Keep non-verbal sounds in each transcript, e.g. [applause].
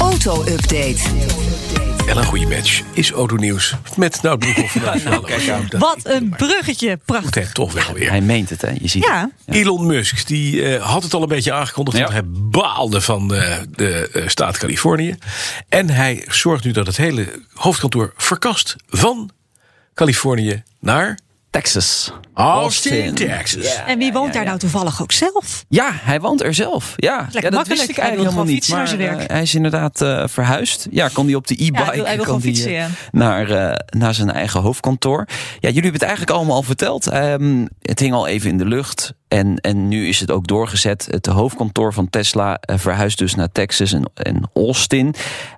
Auto-update. En een goede match is Autonieuws met nou, Nout Broekhoff [laughs] van de Nou, Nationale Auto. Dat Wat een bruggetje. doet Prachtig. hij toch wel weer. Hij meent het, hè? Je ziet Ja, Elon Musk die eh, had het al een beetje aangekondigd. Ja. Want hij baalde van eh, de eh, staat Californië. En hij zorgt nu dat het hele hoofdkantoor verkast van Californië naar Texas. Austin, Texas. en wie woont daar nou toevallig ook zelf? Ja, hij woont er zelf. Ja, ja dat makkelijk. wist ik Hij wil eigenlijk helemaal gewoon niet. fietsen naar zijn maar, werk. eh, hij is inderdaad eh, verhuisd. Ja, kan hij op de e-bike Ja, hij wil- hij wil kan gewoon die, fietsen, eh, ja. naar, eh, naar zijn eigen hoofdkantoor. Ja, jullie hebben het eigenlijk allemaal al verteld. Ehm, het hing al even in de lucht. En, en nu is het ook doorgezet. Het hoofdkantoor van Tesla eh, verhuist dus naar Texas en, en Austin.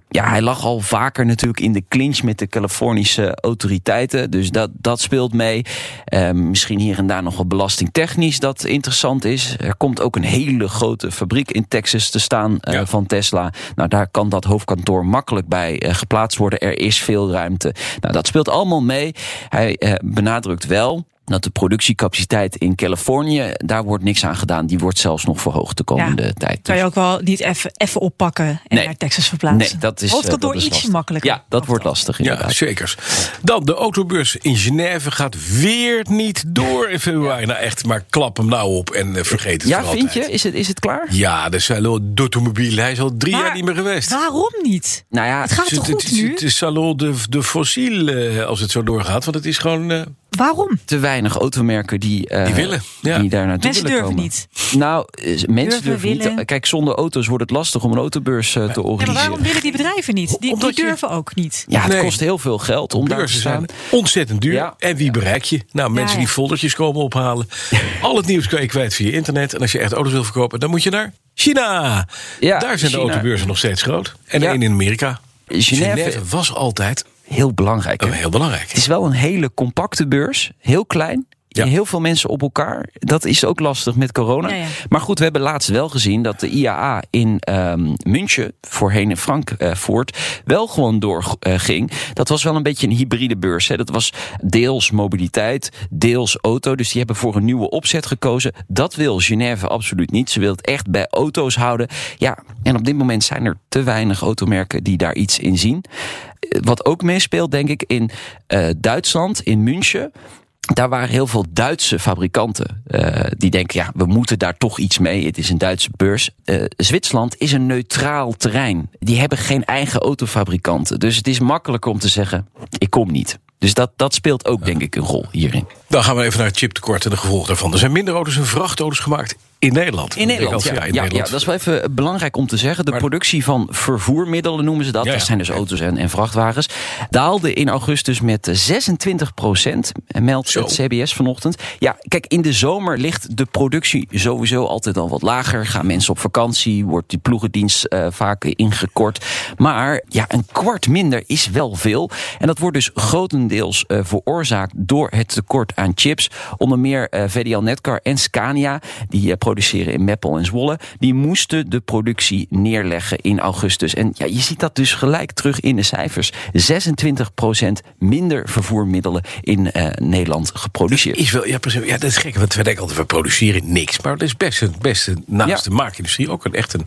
Ja, hij lag al vaker natuurlijk in de clinch met de Californische autoriteiten. Dus dat, dat speelt mee. Eh, misschien hier en daar nog wat belastingtechnisch dat interessant is. Er komt ook een hele grote fabriek in Texas te staan eh, Ja. van Tesla. Nou, daar kan dat hoofdkantoor makkelijk bij eh, geplaatst worden. Er is veel ruimte. Nou, dat speelt allemaal mee. Hij eh, benadrukt wel. Dat de productiecapaciteit in Californië, daar wordt niks aan gedaan. Die wordt zelfs nog verhoogd de komende Ja. tijd. Dus Kan je ook wel niet even even oppakken en Nee. naar Texas verplaatsen? Nee, dat is, eh, Hoofdkantoor dat is ietsje lastig. makkelijker. Ja, dat wordt lastig Ja, inderdaad. zeker. Dan, de autobeurs in Genève gaat weer niet door in februari. Nou echt, maar klap hem nou op en eh, vergeet het Ja, voor vind altijd. je? Is het, is het klaar? Ja, dus de Salon d'Automobile, hij is al drie jaar Maar niet meer geweest. Waarom niet? Nou ja, het gaat Het- toch het- goed het- nu? Het is Salon de, de Fossiel, eh, als het zo doorgaat. Want het is gewoon... eh, Waarom? te weinig automerken die, eh, Die willen, ja. die daar naartoe Mensen willen durven komen. niet. Nou, eh, mensen durven, willen. niet. Kijk, zonder auto's wordt het lastig om een autobeurs eh, te Ja, maar organiseren. waarom willen die bedrijven niet? Die, Omdat die je- durven ook niet. Ja, het Nee. kost heel veel geld om daar te beurzen staan. zijn ontzettend duur. Ja. En wie bereik je? Nou, mensen ja. die foldertjes komen [laughs] ophalen. Al het nieuws kan je kwijt via internet. En als je echt auto's wil verkopen, dan moet je naar China. Ja, daar zijn de China. autobeurzen nog steeds groot. En Ja. één in Amerika. Genève- was altijd Heel belangrijk. hè? eh, heel belangrijk. Het is wel een hele compacte beurs. Heel klein. Ja. Heel veel mensen op elkaar. Dat is ook lastig met corona. Ja, ja. Maar goed, we hebben laatst wel gezien dat de IAA in ehm, München, voorheen in Frankfurt, wel gewoon doorging. dat was wel een beetje een hybride beurs. Hè. Dat was deels mobiliteit, deels auto. Dus die hebben voor een nieuwe opzet gekozen. Dat wil Genève absoluut niet. Ze wil het echt bij auto's houden. Ja, en op dit moment zijn er te weinig automerken die daar iets in zien. Eh, Wat ook meespeelt, denk ik, in eh, Duitsland, in München. Daar waren heel veel Duitse fabrikanten eh, die denken, ja, we moeten daar toch iets mee. Het is een Duitse beurs. Eh, Zwitserland is een neutraal terrein. Die hebben geen eigen autofabrikanten. Dus het is makkelijker om te zeggen, ik kom niet. Dus dat, dat speelt ook, denk ik, een rol hierin. Dan gaan we even naar het chiptekort en de gevolgen daarvan. Er zijn minder auto's en vrachtauto's gemaakt in Nederland. In Ik Nederland, ja. denk al, Ja, ja, dat is wel even eh, belangrijk om te zeggen. De Maar- productie van vervoermiddelen noemen ze dat. Ja, ja. Dat zijn dus auto's en, en vrachtwagens. Daalde in augustus met eh, 26 procent, eh, meldt Zo. het CBS vanochtend. Ja, kijk, in de zomer ligt de productie sowieso altijd al wat lager. Gaan mensen op vakantie, wordt die ploegendienst eh, vaak ingekort. Maar ja, een kwart minder is wel veel. En dat wordt dus grotendeels eh, veroorzaakt door het tekort aan chips. Onder meer eh, VDL Netcar en Scania, die eh, produceren in Meppel en Zwolle, die moesten de productie neerleggen in augustus. En ja, je ziet dat dus gelijk terug in de cijfers. 26% minder vervoermiddelen in eh, Nederland geproduceerd. Is wel, ja, precies. Ja, dat is gek, want we denken altijd, we produceren niks. Maar dat is best, een- best een- naast de Ja. maakindustrie ook een, echt, een,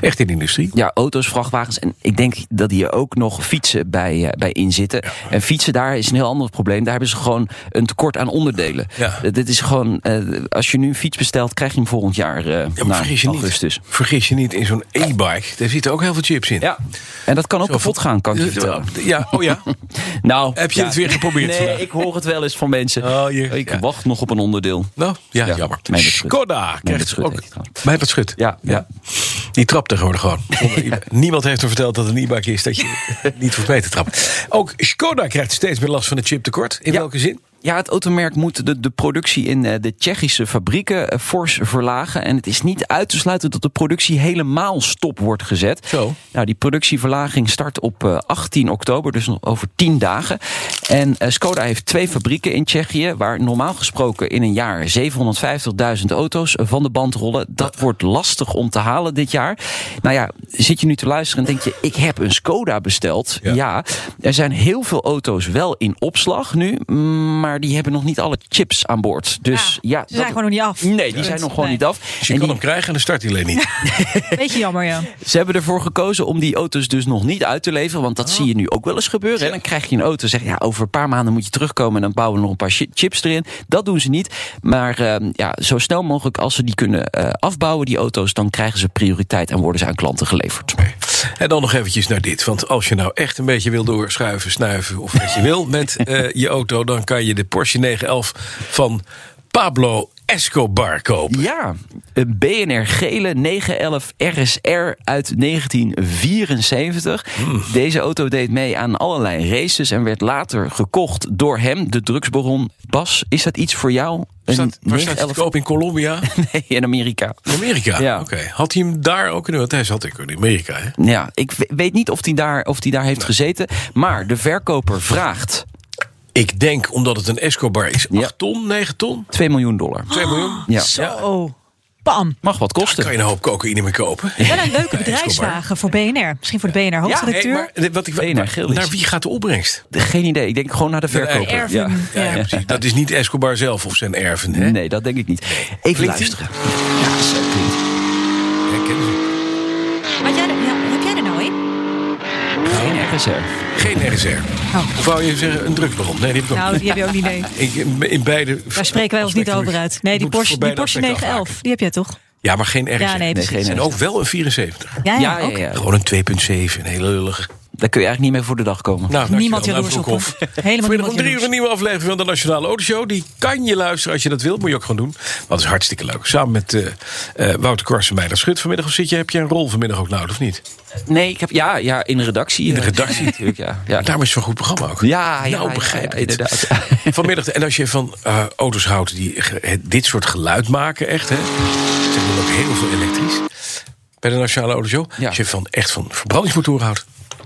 echt een industrie. Ja, auto's, vrachtwagens. En ik denk dat hier ook nog fietsen bij, eh, bij in zitten. En fietsen daar is een heel ander probleem. Daar hebben ze gewoon een tekort aan onderdelen. Ja. Eh, dit is gewoon, eh, als je nu een fiets bestelt, krijg je hem volgend jaar eh Ja, maar na vergis je augustus. niet. Vergis je niet, in zo'n e-bike, daar zitten ook heel veel chips in. Ja, en dat kan ook Zo kapot van- gaan, kan ik je vertellen. Ja, oh ja. [laughs] Nou, Heb je ja. het weer geprobeerd Nee, vandaag? ik hoor het wel eens van mensen. Oh, je- ik ja. wacht nog op een onderdeel. Nou, ja, Ja, jammer. Meindert Schut. Skoda Meindert krijgt Schut ook... heet die trouwens. Meindert Schut. Ja, ja. Die trapt tegenwoordig [laughs] gewoon. Niemand heeft hem verteld dat het een e-bike is, dat je niet hoeft mee te trappen. Ook Skoda krijgt steeds meer last van het chiptekort. In Ja. welke zin? Ja, het automerk moet de, de productie in eh, de Tsjechische fabrieken eh, fors verlagen. En het is niet uit te sluiten dat de productie helemaal stop wordt gezet. Zo. Nou, die productieverlaging start op eh, 18 oktober, dus nog over 10 dagen. En eh, Skoda heeft twee fabrieken in Tsjechië, waar normaal gesproken in een jaar 750.000 auto's van de band rollen. Dat wordt lastig om te halen dit jaar. Nou ja, zit je nu te luisteren en denk je, ik heb een Skoda besteld. Ja. Ja, er zijn heel veel auto's wel in opslag nu, mm, maar die hebben nog niet alle chips aan boord. Dus ja, ze zijn dat- gewoon nog niet af. Nee, die zijn nog gewoon Nee. niet af. Dus je En kan die- hem krijgen en dan start hij alleen niet. Beetje jammer, ja. ze hebben ervoor gekozen om die auto's dus nog niet uit te leveren. Want dat zie je nu ook wel eens gebeuren. hè. dan krijg je een auto en zeg je, ja, over een paar maanden moet je terugkomen... en dan bouwen we nog een paar chi- chips erin. Dat doen ze niet. Maar ehm, ja, zo snel mogelijk als ze die kunnen eh, afbouwen, die auto's... dan krijgen ze prioriteit en worden ze aan klanten geleverd. En dan nog eventjes naar dit. Want als je nou echt een beetje wil doorschuiven, snuiven of wat je wil [laughs] met eh, je auto, dan kan je de Porsche 911 van Pablo Escobar kopen. Ja, een BNR gele 911 RSR uit 1974. Hmm. Deze auto deed mee aan allerlei races en werd later gekocht door hem, de drugsbaron. Bas, is dat iets voor jou? Een Staat, waar staat het te 911? koop in Colombia? [laughs] Nee, in Amerika. Amerika? [laughs] Ja. Oké. Had hij hem daar ook kunnen? Want hij zat ook in Amerika, hè? Ja, ik we- weet niet of die daar, of die daar heeft gezeten. Maar de verkoper vraagt Ik denk, omdat het een Escobar is, 8 Ja. ton, 9 ton, 2 miljoen dollar. 2 miljoen. Ja. Zo. Bam. Mag wat Kan je kosten. een hoop cocaïne mee kopen? Wel een leuke [laughs] Escobar. bedrijfswagen voor BNR. Misschien voor de Hey, BNR-hoofdredacteur. maar eh, wat ik, Nee, naar naar, Geel is. wie gaat de opbrengst? Geen idee. Ik denk gewoon naar de eh, verkoper. Erving. Ja. Ja, ja, precies. Dat is niet Escobar zelf of zijn erven. Hè? Nee, dat denk ik niet. Even Klinkt-ie? luisteren. Ja, zo klinkt. Hè, kennen ze. Had jij er- ja, heb jij er nou in? Geen RSR. Geen RSR. Oh. Of wou je zeggen een drugsbron? Nee, die heb ik ook Nou, niet. die heb je ook niet mee. [laughs] Ik, in beide Daar spreken wij ons niet aspecten over moet- uit. Nee, die moet Porsche, voor beide die Porsche aspecten 911, afhaken. die heb jij toch? Ja, maar geen RSR. Ja, nee, Nee, precies. geen En RSR. ook wel een 74. Ja, Ja, ja, ook. ja. Gewoon een 2,7. Een hele lullige. Daar kun je eigenlijk niet mee voor de dag komen. Nou, Niemand dankjewel, jaloers Daan op. Broekhoff. hem. Helemaal Vanmiddag niemand om drie uur een jaloers. nieuwe aflevering van de Nationale Autoshow. Die kan je luisteren als je dat wilt. Moet je ook gewoon doen. Want het is hartstikke leuk. Samen met eh, eh, Wouter Kors en Meijder Schut vanmiddag. Of zit je, heb je een rol vanmiddag ook nou, of niet? Nee, ik heb, ja, ja, in de redactie. In de redactie. natuurlijk, ja. [laughs] ja. Daarom is het zo'n goed programma ook. Ja, ja, nou ja, begrijp ja, ik het. inderdaad. [laughs] Vanmiddag, en als je van eh, auto's houdt die ge- het- dit soort geluid maken, echt hè. Ze doen ook heel veel elektrisch. Bij de Nationale Autoshow. Ja. Als je van, echt van verbrandingsmotoren houdt.